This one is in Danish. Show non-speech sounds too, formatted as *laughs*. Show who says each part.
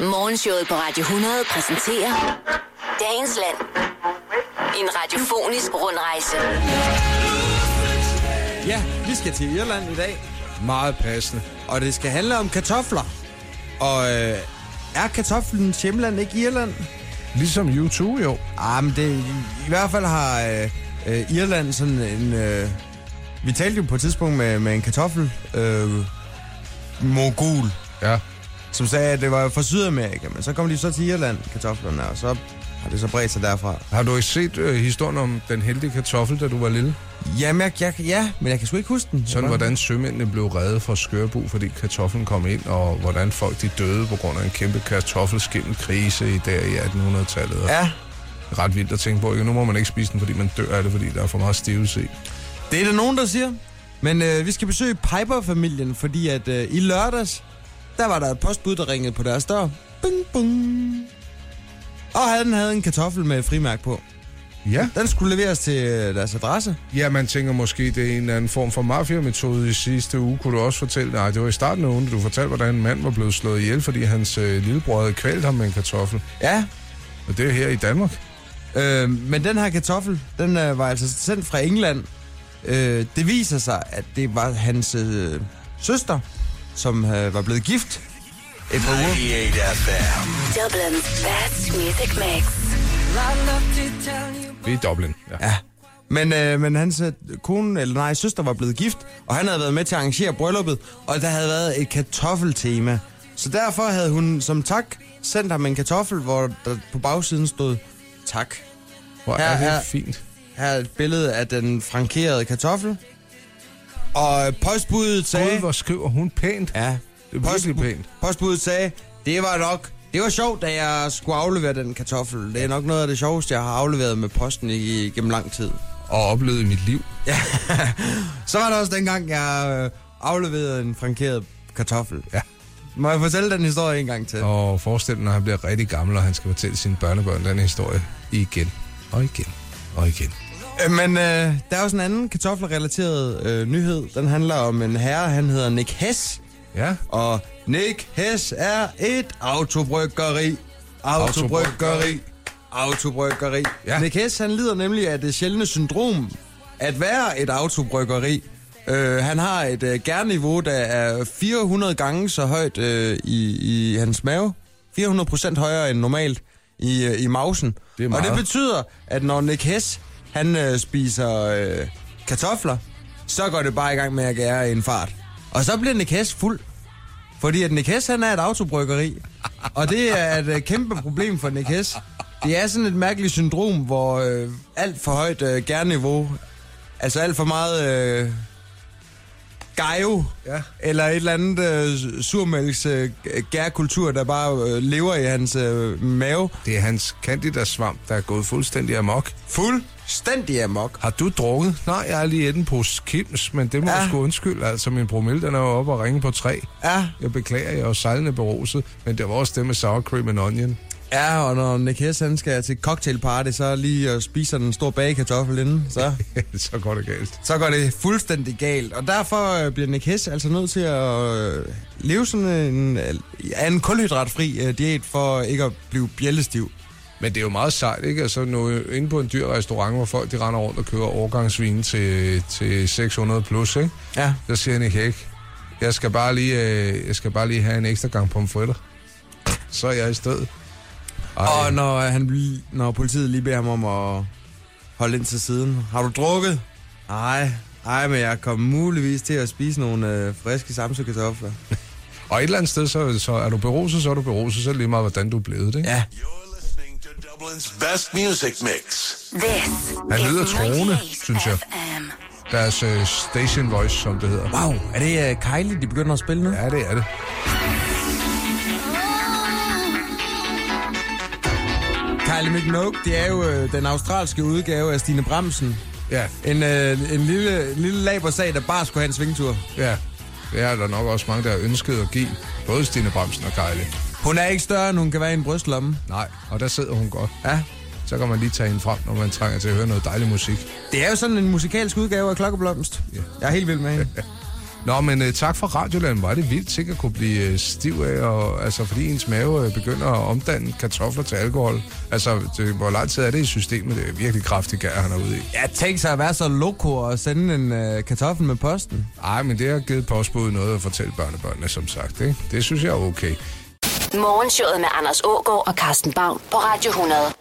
Speaker 1: Morgenshowet på Radio 100 præsenterer Dagens Land. En radiofonisk rundrejse.
Speaker 2: Ja, vi skal til Irland i dag. Meget passende. Og det skal handle om kartofler. Og øh, er kartoflens hjemland ikke Irland?
Speaker 3: Ligesom U2, jo.
Speaker 2: Ah, men det, i hvert fald har øh, øh, Irland sådan en... Øh, vi talte jo på et tidspunkt med, med en kartoffel... Øh, mogul,
Speaker 3: Ja.
Speaker 2: som sagde, at det var fra Sydamerika, men så kom de så til Irland, kartoflerne, og så har det så bredt sig derfra.
Speaker 3: Har du ikke set øh, historien om den heldige kartoffel, da du var lille?
Speaker 2: Jamen, jeg, jeg, ja, men jeg kan sgu ikke huske den.
Speaker 3: Sådan, hvordan sømændene blev reddet fra Skørbo, fordi kartoflen kom ind, og hvordan folk de døde på grund af en kæmpe kartoffelskimmelkrise i der i 1800-tallet. Ja.
Speaker 2: Ja,
Speaker 3: Ret vildt at tænke på, ikke? Nu må man ikke spise den, fordi man dør af det, fordi der er for meget stivelse i.
Speaker 2: Det er der nogen, der siger. Men øh, vi skal besøge Piper-familien, fordi at øh, i lørdags, der var der et postbud, der ringede på deres dør. Bing, bing. Og han havde en kartoffel med et frimærk på.
Speaker 3: Ja.
Speaker 2: Den skulle leveres til øh, deres adresse.
Speaker 3: Ja, man tænker måske, det er en eller anden form for mafiametode i sidste uge. Kunne du også fortælle, nej, det var i starten af ugen, da du fortalte, hvordan en mand var blevet slået ihjel, fordi hans øh, lillebror havde kvalt ham med en kartoffel.
Speaker 2: Ja,
Speaker 3: Og det er her i Danmark.
Speaker 2: øh, men den her kartoffel, den øh, var altså sendt fra England. Øh, det viser sig, at det var hans øh, søster, som øh, var blevet gift et par uger.
Speaker 1: Dublin's Best Music Mix.
Speaker 3: Det er i Dublin. Ja.
Speaker 2: Ja. Men, øh, men hans øh, kone, eller nej, søster var blevet gift, og han havde været med til at arrangere brylluppet, og der havde været et kartoffeltema. Så derfor havde hun som tak sendt ham en kartoffel, hvor der på bagsiden stod tak.
Speaker 3: Hvor
Speaker 2: Ja,
Speaker 3: er
Speaker 2: ja.
Speaker 3: det fint.
Speaker 2: Her er et billede af den frankerede kartoffel. Og øh, postbuddet
Speaker 3: Gud,
Speaker 2: sagde...
Speaker 3: hvor skriver hun pænt.
Speaker 2: Ja,
Speaker 3: Det er virkelig pænt.
Speaker 2: postbuddet sagde, det var nok... Det var sjovt, da jeg skulle aflevere den kartoffel. Det er nok noget af det sjoveste, jeg har afleveret med posten i, gennem lang tid.
Speaker 3: Og oplevet i mit liv.
Speaker 2: Ja. så var der også dengang, jeg øh, afleverede en frankeret kartoffel.
Speaker 3: Ja.
Speaker 2: Må jeg fortælle den historie en gang til?
Speaker 3: Og forestil dig, når han bliver rigtig gammel, og han skal fortælle sine børnebørn den historie igen og igen og igen.
Speaker 2: Øh, Men øh, der er også en anden kartoflerelateret øh, nyhed. Den handler om en herre, han hedder Nick Hess.
Speaker 3: Ja,
Speaker 2: Og Nick Hess er et autobryggeri. Autobryggeri. Autobryggeri. Ja.
Speaker 3: Ja.
Speaker 2: Nick Hess, han lider nemlig af det sjældne syndrom at være et autobryggeri. Øh, han har et øh, gærniveau, der er 400 gange så højt øh, i, i hans mave. 400 procent højere end normalt i, øh, i mausen.
Speaker 3: Det er
Speaker 2: Og det
Speaker 3: meget.
Speaker 2: betyder, at når Nick Hess, han øh, spiser øh, kartofler, så går det bare i gang med at gære i en fart. Og så bliver Nick Hess fuld. Fordi at Nick Hess, han er et autobryggeri. Og det er et øh, kæmpe problem for Nick Hess. Det er sådan et mærkeligt syndrom, hvor øh, alt for højt øh, gærniveau, altså alt for meget øh, gajo,
Speaker 3: Ja.
Speaker 2: eller et eller andet øh, surmælks øh, gærkultur, der bare øh, lever i hans øh, mave,
Speaker 3: det er hans candida-svamp, der er gået fuldstændig amok.
Speaker 2: fuldstændig amok.
Speaker 3: Har du drukket? Nej, jeg har lige et en pose kims, men det må
Speaker 2: Ja.
Speaker 3: ja. sgu undskylde. Altså, min promille, den er jo oppe og ringe på tre.
Speaker 2: Ja,
Speaker 3: Jeg beklager, jeg er jo sejlende beruset, men det var også det med sour cream and onion. *laughs*
Speaker 2: ja, og når Nick Hess han skal til cocktailparty, så lige og spiser den store bagekartoffel inden, så...
Speaker 3: Så går det galt.
Speaker 2: så går det fuldstændig galt. Og derfor øh, bliver Nick Hess altså nødt til at øh, leve sådan en, øh, af en kulhydratfri øh, diæt for ikke at blive bjællestiv.
Speaker 3: Men det er jo meget sejt, ikke? Altså, nu inde på en dyr restaurant, hvor folk de render rundt og kører årgangsvin til, til 600 plus, ikke?
Speaker 2: Ja.
Speaker 3: Der siger Nick Hæk, jeg skal bare lige, øh, jeg skal bare lige have en ekstra gang pomfritter. Så er jeg i stedet. Ej,
Speaker 2: Og når, øh, han, bl- når politiet lige beder ham om at holde ind til siden. Har du drukket? Nej. Nej, men jeg kom muligvis til at spise nogle øh, friske samsekartofler.
Speaker 3: og et eller andet sted, så, så er du beruset, så er du beruset, så er det lige meget, hvordan du er blevet det. Ikke?
Speaker 2: Ja.
Speaker 4: You're listening to Dublin's best music mix.
Speaker 1: This
Speaker 3: Han lyder
Speaker 1: is
Speaker 3: troende,
Speaker 1: 98
Speaker 3: synes jeg.
Speaker 1: FM.
Speaker 3: Deres øh, station voice, som det hedder.
Speaker 2: Wow, er det øh, Kylie, de begynder at spille nu?
Speaker 3: Ja, det er det.
Speaker 2: Kylie Minogue, det er jo øh, den australske udgave af Stine Bremsen.
Speaker 3: Ja,
Speaker 2: En, øh, en lille, en lille labersag, der bare skulle have en svingtur.
Speaker 3: ja. Det er der nok også mange, der har ønsket at give. Både Stine Bramsen og Gejle.
Speaker 2: Hun er ikke større, end hun kan være i en brystlomme.
Speaker 3: Nej, og der sidder hun godt.
Speaker 2: Ja.
Speaker 3: Så kan man lige tage hende frem, når man trænger til at høre noget dejlig musik.
Speaker 2: Det er jo sådan en musikalsk udgave af Klokkeblomst.
Speaker 3: Ja. *laughs*
Speaker 2: Jeg er helt vild med hende.
Speaker 3: Nå, men øh, tak for Radioland. Var det vildt sikkert at kunne blive øh, stiv af, og, altså, fordi ens mave øh, begynder at omdanne kartofler til alkohol. Altså, det, hvor lang tid er det i systemet? Det er virkelig kraftigt gær, han er ude i.
Speaker 2: Ja, tænk sig at være så loko og sende en øh, kartoffel med posten.
Speaker 3: Ej, men det har givet postbud noget at fortælle børnebørnene, som sagt. Ikke? Det synes jeg er okay.
Speaker 1: Morgenshowet med Anders Ågaard og Carsten Baum på Radio 100.